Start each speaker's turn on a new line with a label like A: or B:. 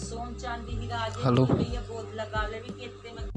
A: सोन चांदी हीरा आज
B: हेलो।
A: भैया बोध लगा ले भी कितने में